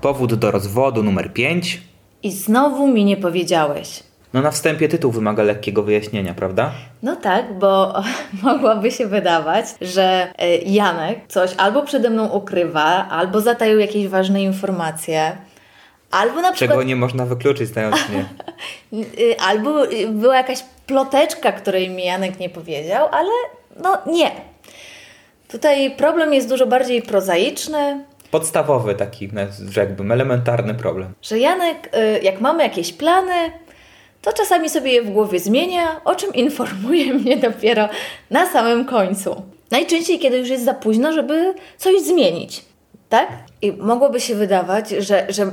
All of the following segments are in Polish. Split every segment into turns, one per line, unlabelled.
Powód do rozwodu numer 5.
I znowu mi nie powiedziałeś.
No na wstępie tytuł wymaga lekkiego wyjaśnienia, prawda?
No tak, bo mogłoby się wydawać, że e, Janek coś albo przede mną ukrywa, albo zataił jakieś ważne informacje, albo na przykład
Czego nie można wykluczyć znając mnie.
Y, Albo y, była jakaś ploteczka, której mi Janek nie powiedział, ale no nie. Tutaj problem jest dużo bardziej prozaiczny,
Podstawowy taki, no, rzekłbym, elementarny problem.
że Janek, y, jak mamy jakieś plany, to czasami sobie je w głowie zmienia, o czym informuje mnie dopiero na samym końcu. Najczęściej, kiedy już jest za późno, żeby coś zmienić, tak? I mogłoby się wydawać, że, że,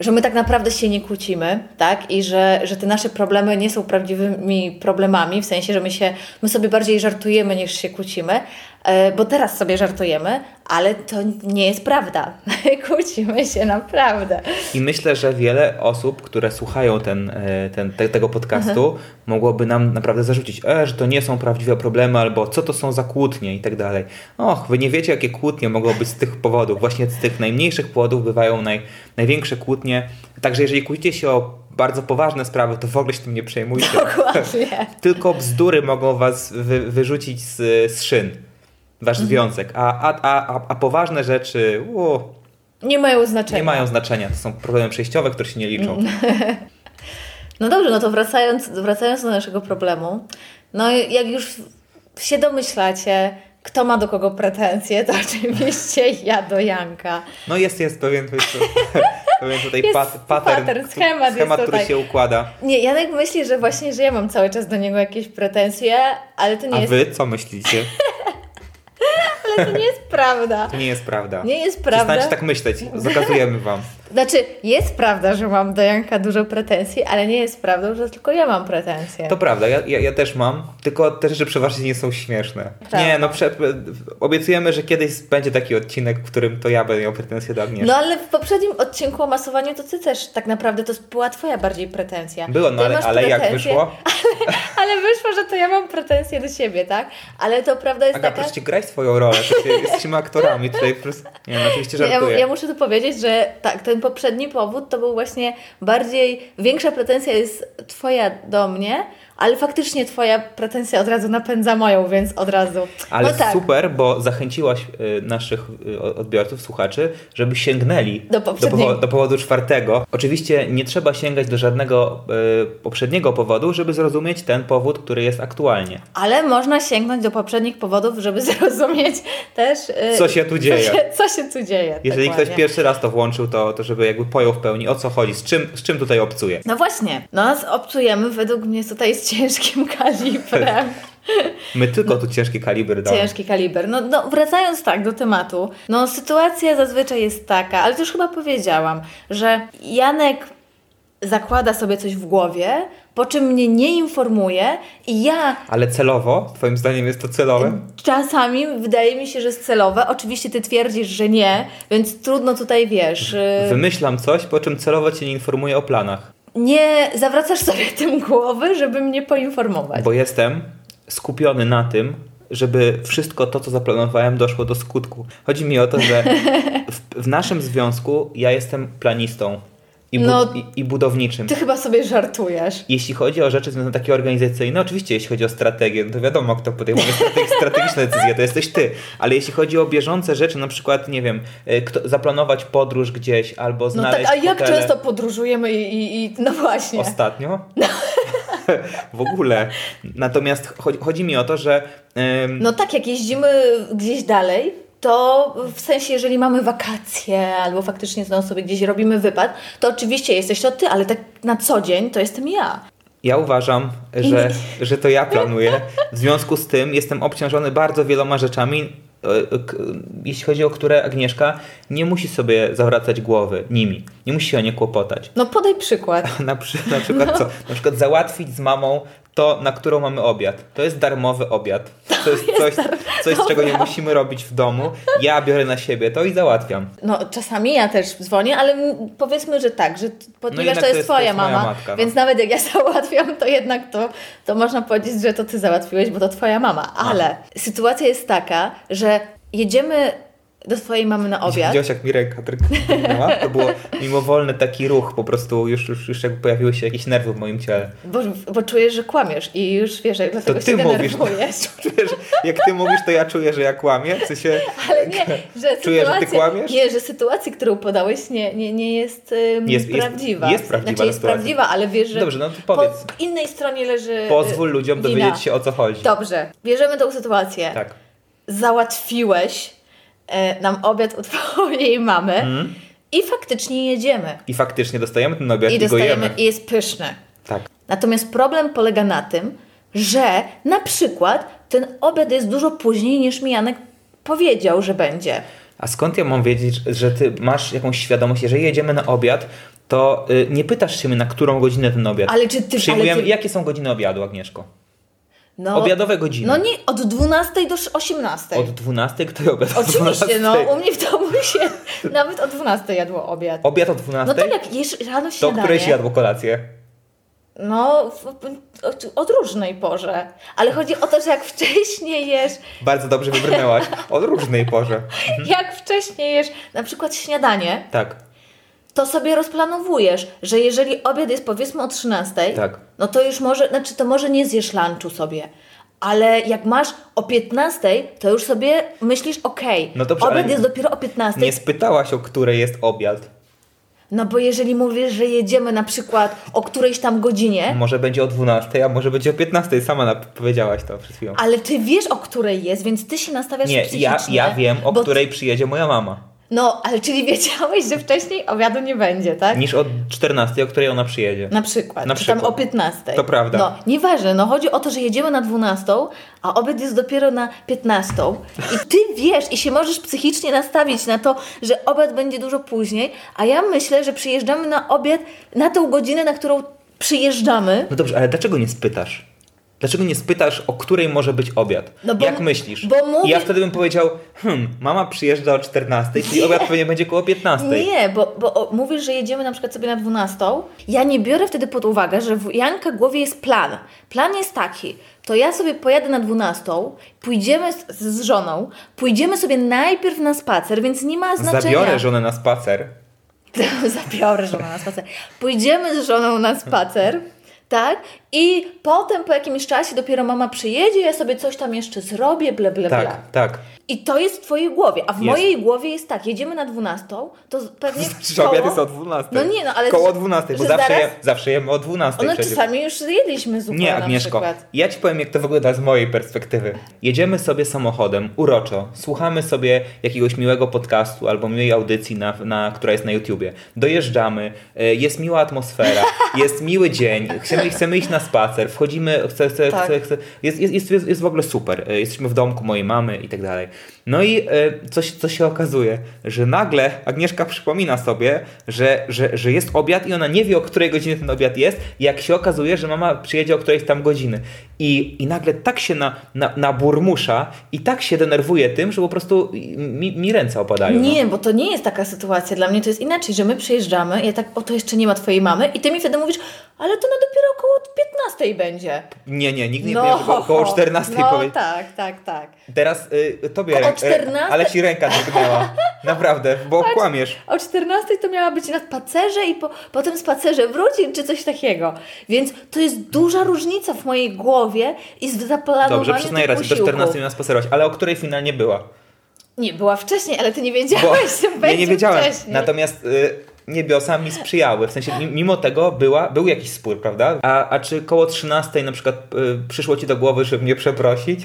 że my tak naprawdę się nie kłócimy, tak? I że, że te nasze problemy nie są prawdziwymi problemami, w sensie, że my, się, my sobie bardziej żartujemy niż się kłócimy, e, bo teraz sobie żartujemy, ale to nie jest prawda. kłócimy się naprawdę.
I myślę, że wiele osób, które słuchają ten, e, ten, te, tego podcastu, mogłoby nam naprawdę zarzucić, e, że to nie są prawdziwe problemy, albo co to są za kłótnie i tak dalej. Och, wy nie wiecie, jakie kłótnie mogą być z tych powodów. Właśnie z tych najmniejszych powodów bywają naj, największe kłótnie. Także jeżeli kłócicie się o bardzo poważne sprawy, to w ogóle się tym nie przejmujcie.
No. Dokładnie.
Tylko bzdury mogą was wy, wyrzucić z, z szyn, wasz związek. A, a, a, a- a poważne rzeczy, uuu,
Nie mają znaczenia.
nie mają znaczenia. To są problemy przejściowe, które się nie liczą.
No dobrze, no to wracając, wracając do naszego problemu, no i jak już się domyślacie, kto ma do kogo pretensje, to oczywiście ja do Janka.
No jest, jest pewien, pewien tutaj
Jest
pat, pattern,
pattern,
któ-
schemat jest
schemat który
tutaj.
się układa.
Nie, Janek myśli, że właśnie, że ja mam cały czas do niego jakieś pretensje, ale to nie,
A
jest,
wy co myślicie?
ale to nie jest prawda.
To nie jest prawda.
Nie jest prawda.
Przestańcie tak myśleć, zakazujemy wam.
Znaczy, jest prawda, że mam do Janka dużo pretensji, ale nie jest prawdą, że tylko ja mam pretensje.
To prawda, ja, ja, ja też mam, tylko te rzeczy przeważnie nie są śmieszne.
Tak.
Nie, no prze, obiecujemy, że kiedyś będzie taki odcinek, w którym to ja będę miał pretensje do Agnieszki.
No ale w poprzednim odcinku o masowaniu to ty też tak naprawdę to była twoja bardziej pretensja.
Było, no
Ty
ale,
masz
ale jak
pretensje-
wyszło?
Ale wyszło, że to ja mam pretensje do siebie, tak? Ale tak. to prawda jest
Aga,
taka...
proszę cię, graj swoją rolę, ty jesteśmy aktorami tutaj. Po prostu... Nie, no, oczywiście
Nie, Ja,
żartuję.
ja muszę tu powiedzieć, że tak, ten poprzedni powód to był właśnie bardziej, większa pretensja jest twoja do mnie, ale faktycznie twoja pretensja od razu napędza moją, więc od razu.
Ale
no tak,
super, bo zachęciłaś y, naszych y, o- odbiorców, słuchaczy, żeby sięgnęli
Do poprzedniego.
powo- do powodu czwartego. Oczywiście nie trzeba sięgać do żadnego y, poprzedniego powodu, żeby zrozumieć ten powód, który jest aktualnie.
ale można sięgnąć do poprzednich powodów, żeby zrozumieć też... y,
Co się tu dzieje.
Co się, co się tu dzieje.
Jeżeli ktoś
dokładnie.
pierwszy raz to włączył, to, to żeby jakby pojął w pełni o co chodzi, z czym, z czym tutaj obcuje.
No właśnie, no nas obcujemy według mnie tutaj z ciężkim kalibrem.
My tylko tu ciężki kaliber damy.
No. Ciężki kaliber. No, no wracając tak do tematu, no sytuacja zazwyczaj jest taka, ale to już chyba powiedziałam, że Janek zakłada sobie coś w głowie, po czym mnie nie informuje i ja
Ale celowo, twoim zdaniem jest to celowe?
czasami wydaje mi się, że jest celowe. Oczywiście ty twierdzisz, że nie, więc trudno tutaj wiesz. y,
Wymyślam coś, po czym celowo cię nie informuję o planach.
Nie zawracasz sobie tym głowy, żeby mnie poinformować.
Bo jestem skupiony na tym, żeby wszystko to, co zaplanowałem, doszło do skutku. Chodzi mi o to, że w, w naszym związku ja jestem planistą i, bu-
No.
i, i budowniczym.
Ty chyba sobie żartujesz.
Jeśli chodzi o rzeczy związane takie organizacyjne, oczywiście jeśli chodzi o strategię, no to wiadomo, kto podejmuje strate- strategiczne decyzje, to jesteś ty. Ale jeśli chodzi o bieżące rzeczy, na przykład, nie wiem, y, kto, zaplanować podróż gdzieś albo
No tak,
znaleźć
a jak
hotele.
często podróżujemy i, i, i no właśnie.
Ostatnio? w ogóle. Natomiast chodzi, chodzi mi o to, że ym,
No tak, jak jeździmy gdzieś dalej, to w sensie, jeżeli mamy wakacje albo faktycznie znowu sobie gdzieś robimy wypad, to oczywiście jesteś to ty, ale tak na co dzień to jestem ja.
ja uważam, że, że to ja planuję. W związku z tym jestem obciążony bardzo wieloma rzeczami, e, k- jeśli chodzi o które Agnieszka nie musi sobie zawracać głowy nimi, nie musi się o nie kłopotać.
No podaj przykład.
Na, przy, na przykład co? Na przykład załatwić z mamą to, na którą mamy obiad. To jest darmowy obiad. To jest coś, coś czego nie musimy robić w domu. Ja biorę na siebie to i załatwiam.
No czasami ja też dzwonię, ale m- powiedzmy, że tak, że t- ponieważ
No jednak
to
to
jest
jest- to
twoja
jest moja
mama,
matka, no.
więc nawet jak ja załatwiam, to jednak to, to można powiedzieć, że to ty załatwiłeś, bo to twoja mama. Ale sytuacja jest taka, że jedziemy do twojej mamy na obiad.
Widziałeś, jak mi ręka drgnęła? To było mimowolny taki ruch, po prostu już, już, już jakby pojawiły się jakieś nerwy w moim ciele.
Bo, bo czujesz, że kłamiesz i już wiesz, jak dlatego
ty
się
mówisz.
denerwujesz.
Czujesz, jak ty mówisz, to ja czuję, że ja kłamię. W sensie,
Ale nie, że
Czujesz, że
sytuacja-
ty kłamiesz?
Nie, że sytuacja, którą podałeś, nie, nie, nie jest, ym,
Jest- jest-
prawdziwa.
jest prawdziwa
Znaczy jest
sytuacja.
prawdziwa, ale wiesz, że
Dobrze, no to powiedz.
po innej stronie leży
pozwól
y,
ludziom
wina.
dowiedzieć się, o co chodzi.
Dobrze, bierzemy tą sytuację.
Tak.
Załatwiłeś e, nam obiad u twojej mamy i faktycznie jedziemy.
I Mhm. faktycznie dostajemy ten obiad
I
i, go
dostajemy,
jemy.
i jest pyszny.
Tak.
Natomiast problem polega na tym, że na przykład ten obiad jest dużo później niż mi Janek powiedział, że będzie.
A skąd ja mam wiedzieć, że ty masz jakąś świadomość, jeżeli jedziemy na obiad, to y, nie pytasz się mnie, na którą godzinę ten obiad.
Ale czy ty-
Przyjmujemy,
ale ty-
jakie są godziny obiadu, Agnieszko?
No,
Obiadowe godziny.
No nie, od 12 do 18.
Od 12 kto je obiad o
Oczywiście,
12?
no u mnie w domu się nawet o 12 jadło obiad.
Obiad o
No
12?
tak jak jesz rano
to
śniadanie.
któreś jadło kolację?
No, w, w- od, od różnej porze. Ale chodzi o to, że jak wcześniej jesz,
Bardzo dobrze wybrnęłaś. O różnej porze.
jak wcześniej jesz na przykład śniadanie,
Tak,
to sobie rozplanowujesz, że jeżeli obiad jest powiedzmy o 13,
Tak.
no to już może, znaczy to może nie zjesz lunchu sobie. Ale jak masz o 15, to już sobie myślisz, okej,
No dobrze,
obiad
ale
jest dopiero o 15,
nie spytałaś o której jest obiad.
No bo jeżeli mówisz, że jedziemy na przykład o którejś tam godzinie,
Może będzie o 12, a może będzie o 15. Sama nap- powiedziałaś to przed chwilą.
ale ty wiesz, o której jest, więc ty się nastawiasz
Nie,
psychicznie.
ja, ja wiem, o
bo-
której przyjedzie moja mama.
No, ale czyli wiedziałeś, że wcześniej obiadu nie będzie, tak?
Niż o 14, o której ona przyjedzie.
Na przykład.
Na
czy
przykład.
tam o 15.
To prawda.
No, nieważne, no chodzi o to, że jedziemy na 12, a obiad jest dopiero na 15. I ty wiesz i się możesz psychicznie nastawić na to, że obiad będzie dużo później, a ja myślę, że przyjeżdżamy na obiad na tą godzinę, na którą przyjeżdżamy.
No dobrze, ale dlaczego nie spytasz? Dlaczego nie spytasz, o której może być obiad?
No bo-
Jak myślisz?
bo mówię-
Ja wtedy bym powiedział, hmm, mama przyjeżdża o 14, czyli obiad pewnie będzie koło 15.
Nie, bo, bo o, mówisz, że jedziemy na przykład sobie na 12. Ja nie biorę wtedy pod uwagę, że w Janka głowie jest plan. Plan jest taki, to ja sobie pojadę na 12, pójdziemy z, z żoną, pójdziemy sobie najpierw na spacer, więc nie ma znaczenia.
Zabiorę żonę na spacer.
Zabiorę żonę na spacer. Pójdziemy z żoną na spacer, tak? I potem po jakimś czasie dopiero mama przyjedzie, ja sobie coś tam jeszcze zrobię, ble, ble, ble.
Tak, tak.
I to jest w twojej głowie, a w
Jest.
mojej głowie jest tak, jedziemy na 12, to z- pewnie
Przecież
koło...
Znaczy, obiad jest o 12.
No nie, no ale-
Koło 12, bo
że
zawsze,
zaraz-
je, zawsze jemy o 12
One
przecież.
czasami już jedliśmy zupę
Nie,
na
Agnieszko,
przykład.
ja ci powiem, jak to wygląda z mojej perspektywy. Jedziemy sobie samochodem, uroczo, słuchamy sobie jakiegoś miłego podcastu albo miłej audycji, na, na, która jest na YouTubie. Dojeżdżamy, e, jest miła atmosfera, jest miły dzień, chcemy, chcemy iść na spacer, wchodzimy, chce, chce,
Tak.
chce, chce, jest, jest, jest, jest, jest w ogóle super. E, Jesteśmy w domku mojej mamy i tak dalej. No i e, coś, co się okazuje, że nagle Agnieszka przypomina sobie, że, że, że jest obiad i ona nie wie, o której godzinie ten obiad jest, jak się okazuje, że mama przyjedzie o którejś tam godziny. I, i nagle tak się na, na, naburmusza i tak się denerwuje tym, że po prostu mi, mi ręce opadają. no.
Nie, bo to nie jest taka sytuacja. Dla mnie to jest inaczej, że my przyjeżdżamy i ja tak, o to jeszcze nie ma twojej mamy i ty mi wtedy mówisz, ale to no dopiero około 15 będzie.
nie, nie, nikt nie
no,
powiedział, że około 14
No
powie...
tak, tak, tak.
Teraz y, tobie
O
ręka,
14?
ale ci ręka drgnęła. Naprawdę,
Tak.
bo kłamiesz.
O 14 to miała być na spacerze i po, po tym spacerze wróci, czy coś takiego. Więc to jest duża różnica w mojej głowie i w zaplanowaniu
Dobrze, przyznaję
tych
rację, do
posiłków.
14 miała spacerować, ale o której finalnie była?
Nie, była wcześniej, ale ty nie wiedziałeś, że będzie
ja nie wiedziałem.
wcześniej.
Natomiast y, niebiosa mi sprzyjały. W sensie mi- mimo tego była, był jakiś spór, prawda? A, a czy koło 13 na przykład y, przyszło ci do głowy, żeby mnie przeprosić?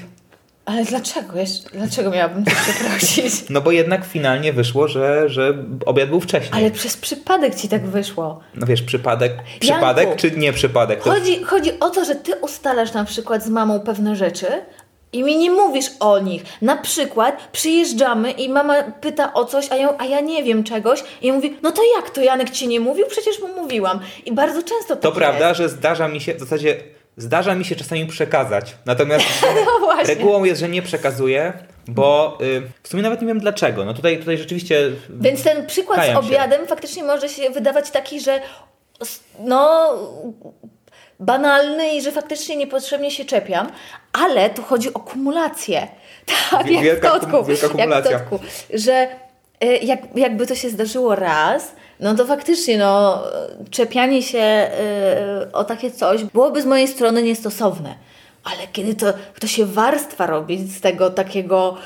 Ale dlaczego? Jeszcze, dlaczego miałabym cię przeprosić?
No bo jednak finalnie wyszło, że, że obiad był wcześniej.
Ale przez przypadek ci tak wyszło.
No wiesz, przypadek, przypadek czy nie przypadek? To
Chodzi, chodzi o to, że ty ustalasz na przykład z mamą pewne rzeczy, I mi nie mówisz o nich. Na przykład przyjeżdżamy i mama pyta o coś, a ja, a ja nie wiem czegoś. I ja mówię, no to jak to Janek ci nie mówił? Przecież mu mówiłam. I bardzo często tak
To
jest.
prawda, że zdarza mi się, w zasadzie zdarza mi się czasami przekazać. Natomiast
No właśnie.
regułą jest, że nie przekazuję, bo y, w sumie nawet nie wiem dlaczego. No tutaj, tutaj rzeczywiście
Więc ten przykład
Kajam
z
się.
obiadem faktycznie może się wydawać taki, że s- no banalny i że faktycznie niepotrzebnie się czepiam, ale tu chodzi o kumulację. Tak,
Wi-
jak w
wielka
totku.
kum- wielka
jak w
kumulacja.
totku. Że y, jak, jakby to się zdarzyło raz, no to faktycznie no, czepianie się y, o takie coś byłoby z mojej strony niestosowne. Ale kiedy to, to się warstwa robi z tego takiego,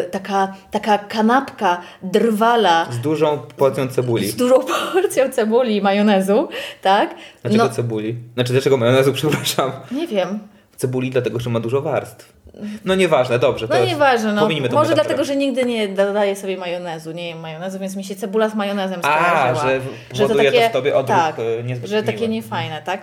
y, taka, taka kanapka drwala
z dużą porcją cebuli.
z dużą porcją cebuli i majonezu, tak?
Dlaczego cebuli? Znaczy dlaczego majonezu, przepraszam.
nie wiem.
Cebuli dlatego, że ma dużo warstw. No nieważne, dobrze.
No
to
nieważne, no.
pominijmy tą
Może
metaforę.
dlatego, że nigdy nie dodaję sobie majonezu, nie jem majonezu, więc mi się cebula z majonezem
A,
skojarzyła.
że powoduje to, w tobie odruch
tak,
y, niezbyt
że
miły.
takie niefajne, tak?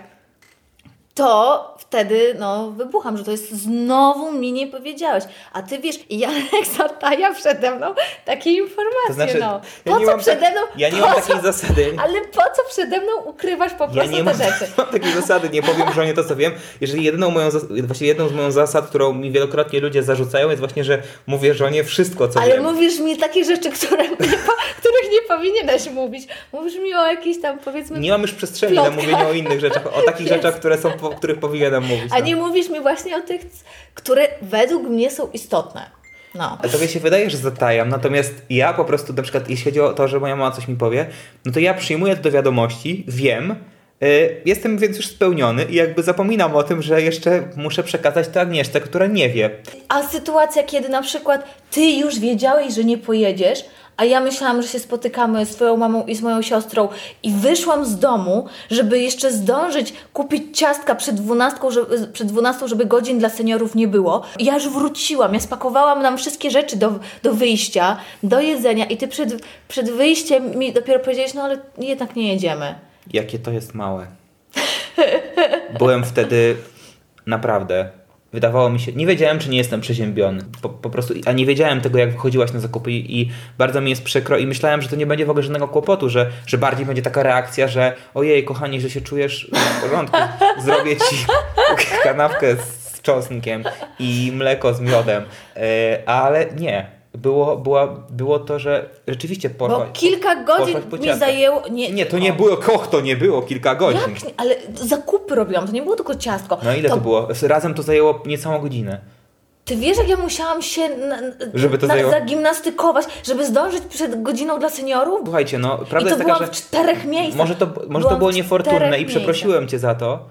To wtedy, no, wybucham, że to jest znowu mi nie powiedziałeś. A ty wiesz, i Janek zataja przede mną takie informacje,
To znaczy,
no.
ja
Po
nie
co
mam
przede
tak-
mną?
Ja nie
po
mam
co,
takiej zasady.
Ale po co przede mną ukrywasz po
Ja
prostu
nie
te
mam,
rzeczy?
mam takiej zasady, nie powiem żonie to, co wiem. Jeżeli jedyną moją, zas- właśnie jedną z moją zasad, którą mi wielokrotnie ludzie zarzucają, jest właśnie, że mówię żonie wszystko, co
Ale
wiem.
mówisz mi takie rzeczy, które nie, po, których nie powinieneś mówić. Mówisz mi o jakichś tam, powiedzmy,
Nie mam już przestrzeni
Plotka.
na mówienie o innych rzeczach, o takich rzeczach, które są, po, których powinienem mówić.
a
no.
nie mówisz mi właśnie o tych, c- które według mnie są istotne. No.
Ale tobie się wydaje, że zatajam, natomiast ja po prostu, na przykład jeśli chodzi o to, że moja mama coś mi powie, no to ja przyjmuję to do wiadomości, wiem, y, jestem więc już spełniony i jakby zapominam o tym, że jeszcze muszę przekazać to Agnieszce, która nie wie.
A sytuacja, kiedy na przykład ty już wiedziałeś, że nie pojedziesz, a ja myślałam, że się spotykamy z twoją mamą i z moją siostrą i wyszłam z domu, żeby jeszcze zdążyć kupić ciastka przed 12, żeby, przed 12, żeby godzin dla seniorów nie było. I Ja już wróciłam, ja spakowałam nam wszystkie rzeczy do, do wyjścia, do jedzenia i ty przed, przed wyjściem mi dopiero powiedziałeś, no ale jednak nie jedziemy.
Jakie to jest małe. Byłem wtedy naprawdę. Wydawało mi się, nie wiedziałem, czy nie jestem przeziębiony. Po, po prostu, a nie wiedziałem tego, jak wychodziłaś na zakupy, i, i bardzo mi jest przykro. I myślałem, że to nie będzie w ogóle żadnego kłopotu, że, że bardziej będzie taka reakcja, że ojej, kochanie, że się czujesz w porządku, zrobię ci kanapkę z, z czosnkiem i mleko z miodem. E, ale nie. Było, była, było to, że rzeczywiście
Bo
porwa.
kilka godzin
poszłaś po
mi
ciastka.
zajęło... Nie,
Nie, to nie
o.
było, koch to nie było kilka godzin.
Jak? nie? Ale zakupy robiłam, to nie było tylko ciastko.
No ile to, było? Razem to zajęło niecałą godzinę.
Ty wiesz, jak ja musiałam się na, na-
Żeby to
na,
zajęło-
zagimnastykować, żeby zdążyć przed godziną dla seniorów?
Słuchajcie, no
I
prawda
to
jest taka,
byłam
że
w czterech miejscach.
może to, może
Byłam
to
w
było
czterech
niefortunne i
miejscach.
przeprosiłem cię za to.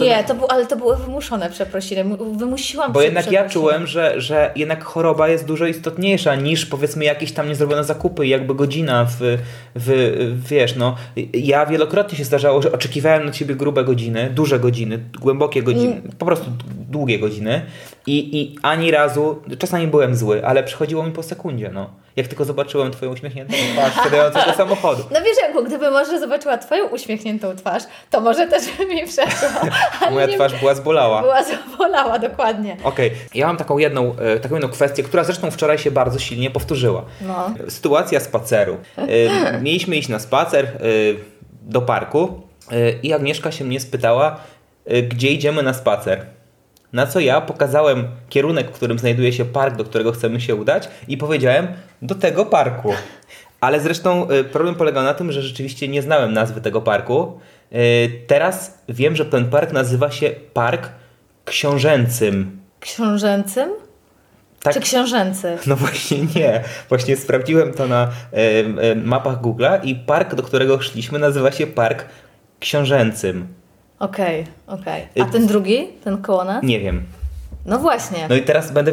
Nie, to był, ale to były wymuszone przeprosiny. mu- Wymusiłam
Bo
sobie
jednak ja
przeprosiny.
czułem, że, że jednak choroba jest dużo istotniejsza niż powiedzmy jakieś tam niezrobione zakupy, jakby godzina w, w wiesz, no. Ja wielokrotnie się zdarzało, że oczekiwałem na ciebie grube godziny, duże godziny, głębokie godziny,
Mm.
po prostu długie godziny i, i ani razu, czasami byłem zły, ale przychodziło mi po sekundzie, no. Jak tylko zobaczyłem twoją uśmiechniętą twarz wsiadającą do samochodu.
No wiesz, Janku, gdyby może zobaczyła twoją uśmiechniętą twarz, to może też by mi przeszło. ale
Moja
nie
twarz była zbolała.
Była zawolała, dokładnie.
Okej, ja mam taką jedną, e, taką jedną kwestię, która zresztą wczoraj się bardzo silnie powtórzyła.
No.
Sytuacja spaceru. E, Mieliśmy iść na spacer e, do parku e, i Agnieszka się mnie spytała, e, gdzie idziemy na spacer. Na co ja pokazałem kierunek, w którym znajduje się park, do którego chcemy się udać i powiedziałem do tego parku. Ale zresztą e, problem polegał na tym, że rzeczywiście nie znałem nazwy tego parku. E, Teraz wiem, że ten park nazywa się Park Książęcym.
Książęcym?
Tak,
Czy książęcy?
no właśnie nie. Właśnie sprawdziłem to na em, em, mapach Google'a i park, do którego szliśmy, nazywa się Park Książęcym.
Okej, okej.
Y-
A ten drugi? Ten koło nas?
Nie wiem.
No właśnie.
No i teraz będę.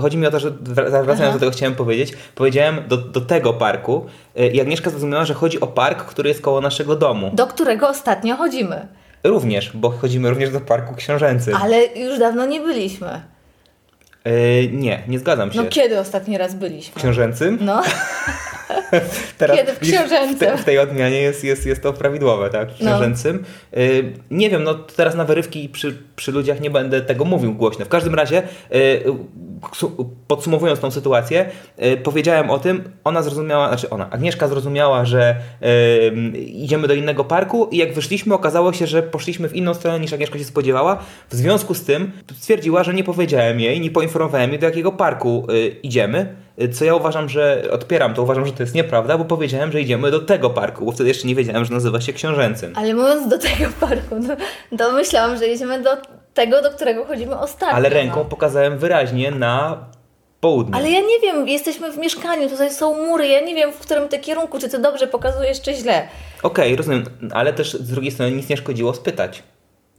Chodzi mi o to, że wra- wracając
Aha.
do tego chciałem powiedzieć. Powiedziałem do, do tego parku y, i Agnieszka zrozumiała, że chodzi o park, który jest koło naszego domu.
Do którego ostatnio chodzimy.
Również, bo chodzimy również do Parku Książęcym.
Ale już dawno nie byliśmy.
E, nie, nie zgadzam się.
No kiedy ostatni raz byliśmy?
Książęcym?
No,
Teraz
Kiedy w
widzisz,
książęcym.
W, te, w tej odmianie jest, jest, jest to prawidłowe, tak? W
No.
książęcym. Y, nie wiem, no teraz na wyrywki przy, przy ludziach nie będę tego mówił głośno. W każdym razie, y, su- podsumowując tą sytuację, y, powiedziałem o tym, ona zrozumiała, znaczy ona, Agnieszka zrozumiała, że y, idziemy do innego parku i jak wyszliśmy, okazało się, że poszliśmy w inną stronę niż Agnieszka się spodziewała. W związku z tym stwierdziła, że nie powiedziałem jej, nie poinformowałem jej, do jakiego parku y, idziemy. Co ja uważam, że odpieram, to uważam, że to jest nieprawda, bo powiedziałem, że idziemy do tego parku, bo wtedy jeszcze nie wiedziałem, że nazywa się Książęcym.
ale mówiąc do tego parku, no, to myślałam, że jedziemy do tego, do którego chodzimy ostatnio.
Ale ręką
No.
pokazałem wyraźnie na południe.
Ale ja nie wiem, jesteśmy w mieszkaniu, tutaj są mury, ja nie wiem, w którym ty kierunku, czy ty dobrze pokazujesz, czy źle.
Okej, rozumiem, ale też z drugiej strony nic nie szkodziło spytać.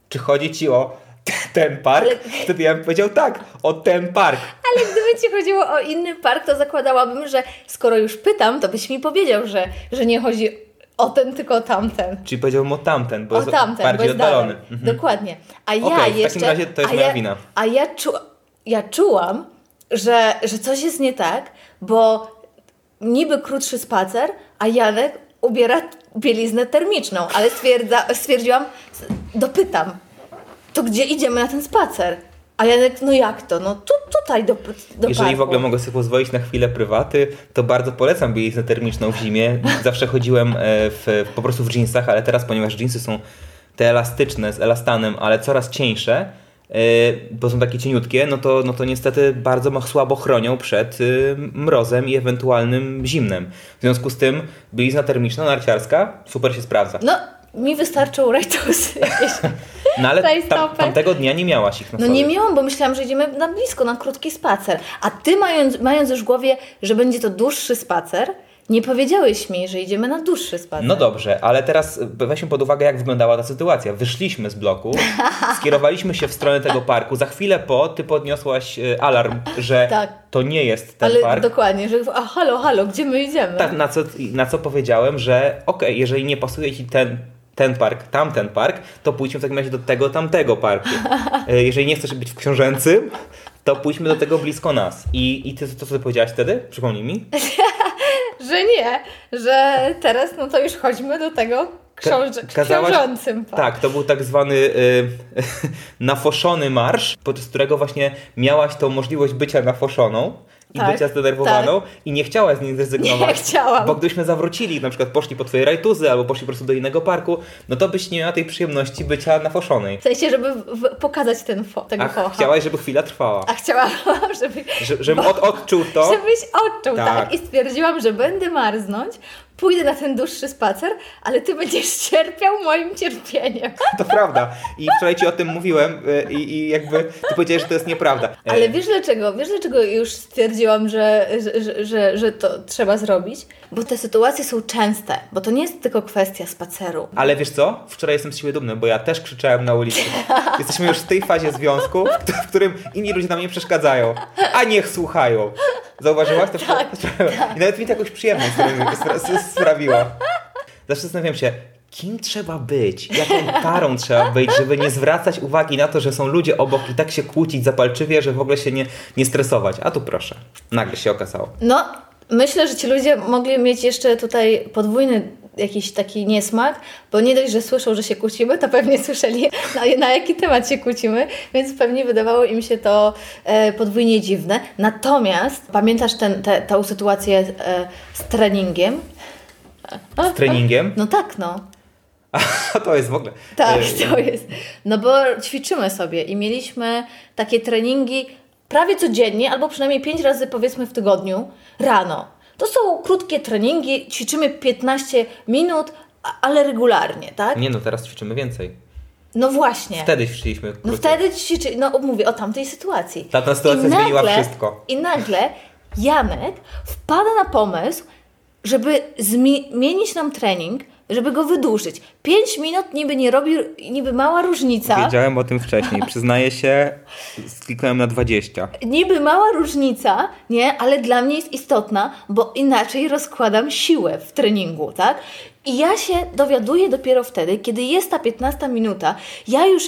Czy chodzi ci o t- ten park?
Ale-
Wtedy ja bym powiedział tak, o ten park.
Ale gdyby ci chodziło o inny park, to zakładałabym, że skoro już pytam, to byś mi powiedział, że, że nie chodzi o ten, tylko o tamten.
Czyli powiedziałbym o tamten, bo
o
jest
tamten, bo
bardziej
jest
oddalony.
dalej.
Mhm.
Dokładnie. A ja
Okej, w takim
jeszcze...
razie to jest
a
moja
ja,
wina.
A ja, czu, ja czułam, że, że coś jest nie tak, bo niby krótszy spacer, a Janek ubiera bieliznę termiczną, ale stwierdza, stwierdziłam, dopytam, to gdzie idziemy na ten spacer? A Janek, no jak to? No tu, tutaj do, do
Jeżeli
parku.
w ogóle mogę sobie pozwolić na chwilę prywaty, to bardzo polecam bieliznę termiczną w zimie. Zawsze chodziłem e, w, po prostu w jeansach, ale teraz, ponieważ jeansy są te elastyczne, z elastanem, ale coraz cieńsze, e, bo są takie cieniutkie, no to, no to niestety bardzo ma- słabo chronią przed e, mrozem i ewentualnym zimnem. W związku z tym bielizna termiczna, narciarska, super się sprawdza.
No, mi wystarczą rajtusy.
No ale tam,
rajstopy.
tamtego dnia nie miałaś ich na
No
sobie.
nie miałam, bo myślałam, że idziemy na blisko, na krótki spacer. A ty, mając, mając już w głowie, że będzie to dłuższy spacer, nie powiedziałeś mi, że idziemy na dłuższy spacer.
No dobrze, ale teraz weźmy pod uwagę, jak wyglądała ta sytuacja. Wyszliśmy z bloku, skierowaliśmy się w stronę tego parku. Za chwilę po ty podniosłaś e, alarm, że
Tak.
to nie jest ten
Ale
park.
dokładnie, że a halo, halo, gdzie my idziemy?
Tak, na co, na co powiedziałem, że okej, jeżeli nie pasuje ci ten, ten park, tamten park, to pójdźmy w takim razie do tego, tamtego parku. E, Jeżeli nie chcesz być w książęcym, to pójdźmy do tego blisko nas. I, i ty to, co ty powiedziałaś wtedy? Przypomnij mi.
Że nie, że teraz no to już chodźmy do tego książ-
kazałaś-
książącym parku.
Tak, to był tak zwany y, nafoszony marsz, podczas którego właśnie miałaś tą możliwość bycia nafoszoną i
Tak,
bycia zdenerwowaną i nie chciałaś z niej zrezygnować.
Nie chciałam.
Bo gdybyśmy zawrócili, na przykład poszli po twoje rajtuzy albo poszli po prostu do innego parku, no to byś nie miała tej przyjemności bycia nafoszonej.
W sensie, żeby w- pokazać ten fo- tego
A
focha.
chciałaś, żeby chwila trwała.
A chciałam, żeby...
Że, żebym od, odczuł to.
Żebyś odczuł, tak.
Tak.
I stwierdziłam, że będę marznąć, pójdę na ten dłuższy spacer, ale ty będziesz cierpiał moim cierpieniem.
To prawda. I wczoraj ci o tym mówiłem y, i, i jakby ty powiedziałeś, że to jest nieprawda. E,
Ale wiesz dlaczego? Wiesz dlaczego już stwierdziłam, że, że- że, że, że to trzeba zrobić? Bo te sytuacje są częste, bo to nie jest tylko kwestia spaceru.
Ale wiesz co? Wczoraj jestem z siebie dumny, bo ja też krzyczałem na ulicy. Jesteśmy już w tej fazie związku, w któ- w którym inni ludzie nam nie przeszkadzają, a niech słuchają. Zauważyłaś to? Tak, I nawet mi to jakąś przyjemność spra- spra- sprawiła. Zawsze zastanawiam się, kim trzeba być, jaką parą trzeba być, żeby nie zwracać uwagi na to, że są ludzie obok i tak się kłócić zapalczywie, że w ogóle się nie, nie stresować. A tu proszę, nagle się okazało.
No, myślę, że ci ludzie mogli mieć jeszcze tutaj podwójny jakiś taki niesmak, bo nie dość, że słyszą, że się kłócimy, to pewnie słyszeli, no na, na jaki temat się kłócimy, więc pewnie wydawało im się to e, podwójnie dziwne. Natomiast pamiętasz ten, te, tą sytuację e, z treningiem?
Z treningiem,
No tak, no.
a to jest w ogóle...
Tak,
e,
to jest. No bo ćwiczymy sobie i mieliśmy takie treningi prawie codziennie, albo przynajmniej 5 razy powiedzmy w tygodniu rano. To są krótkie treningi, ćwiczymy 15 minut, a- ale regularnie, tak?
Nie no, teraz ćwiczymy więcej.
No właśnie.
Wtedy ćwiczyliśmy krócej.
No wtedy ćwiczy, no mówię o tamtej sytuacji.
Tamta sytuacja
I
zmieniła wszystko.
I nagle Janek wpada na pomysł, żeby zmi- zmienić nam trening, żeby go wydłużyć. 5 minut niby nie robi, niby mała różnica.
Wiedziałem o tym wcześniej. Przyznaję się, kliknąłem na 20.
niby mała różnica, nie, ale dla mnie jest istotna, bo inaczej rozkładam siłę w treningu, tak? I ja się dowiaduję dopiero wtedy, kiedy jest ta 15 minuta, ja już,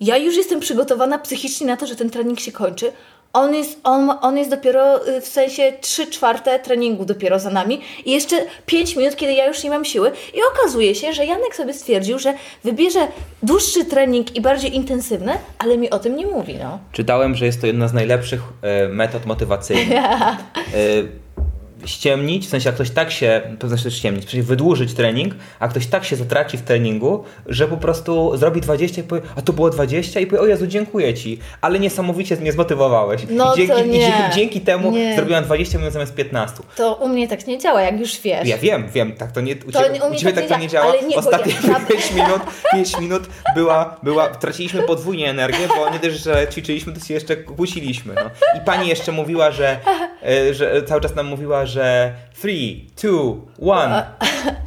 ja już jestem przygotowana psychicznie na to, że ten trening się kończy, On jest, on, ma- on jest dopiero y, w sensie 3 czwarte treningu dopiero za nami i jeszcze 5 minut, kiedy ja już nie mam siły i okazuje się, że Janek sobie stwierdził, że wybierze dłuższy trening i bardziej intensywny, ale mi o tym nie mówi, no.
Czytałem, że jest to jedna z najlepszych e, metod motywacyjnych. E, Ściemnić, w sensie jak ktoś tak się, to znaczy ściemnić, w sensie wydłużyć trening, a ktoś tak się zatraci w treningu, że po prostu zrobi 20 i powie, a to było 20 i powie, o Jezu, dziękuję Ci, ale niesamowicie mnie zmotywowałeś.
No
I dzięki,
to
i
nie.
dzięki, dzięki temu
Nie.
zrobiłam 20 minut zamiast 15.
To u mnie tak nie działa, jak już wiesz.
Ja wiem, wiem, tak to nie, u,
To
ciebie,
nie- u
u
mnie
ciebie
tak
tak
nie
to
działa,
nie działa.
ale nie, bo
Ostatnie
ja- ja-
5 minut, 5 minut była, była, traciliśmy podwójnie energię, bo nie dość, że ćwiczyliśmy, to się jeszcze kłóciliśmy. No. I pani jeszcze mówiła, że, e, że cały czas nam mówiła, że 3, 2, 1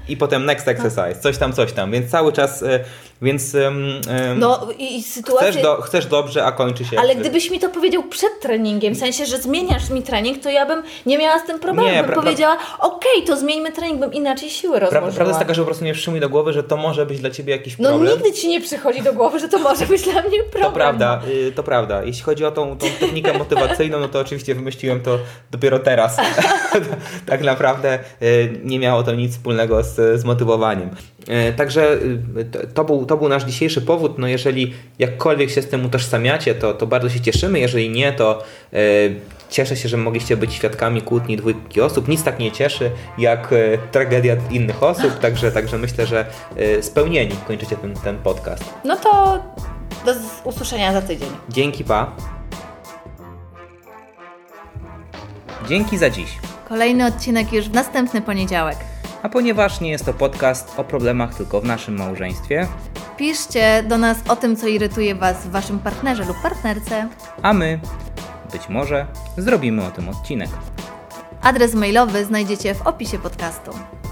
i potem next exercise, coś tam, coś tam, więc cały czas, e, więc em, em,
No i, i
chcesz,
sytuacja...
do, chcesz dobrze, a kończy się.
Ale
jak-
gdybyś mi to powiedział przed treningiem, w sensie, że zmieniasz mi trening, to ja bym nie miała z tym problemu.
Nie,
bym
pra- pra-
powiedziała, okej, to zmieńmy trening, bym inaczej siły rozłożyła.
Prawda, prawda jest taka, że po prostu nie przyszło mi do głowy, że to może być dla ciebie jakiś
no
problem.
nigdy ci nie przychodzi do głowy, że to może być dla mnie problem.
To prawda, y, to prawda. Jeśli chodzi o tą, tą technikę motywacyjną, no to oczywiście wymyśliłem to dopiero teraz. tak naprawdę y, nie miało to nic wspólnego z, z motywowaniem. Y, Także y, to- to był, to był nasz dzisiejszy powód. No jeżeli jakkolwiek się z tym utożsamiacie, to, to bardzo się cieszymy. Jeżeli nie, to y, cieszę się, że mogliście być świadkami kłótni dwójki osób. Nic tak nie cieszy, jak y, tragedia innych osób. Także, także myślę, że y, spełnieni kończycie ten, ten podcast.
No to do z- usłyszenia za tydzień.
Dzięki, pa. Dzięki za dziś.
Kolejny odcinek już w następny poniedziałek.
A ponieważ nie jest to podcast o problemach tylko w naszym małżeństwie,
Piszcie do nas o tym, co irytuje Was w Waszym partnerze lub partnerce.
a my, być może, zrobimy o tym odcinek.
Adres mailowy znajdziecie w opisie podcastu.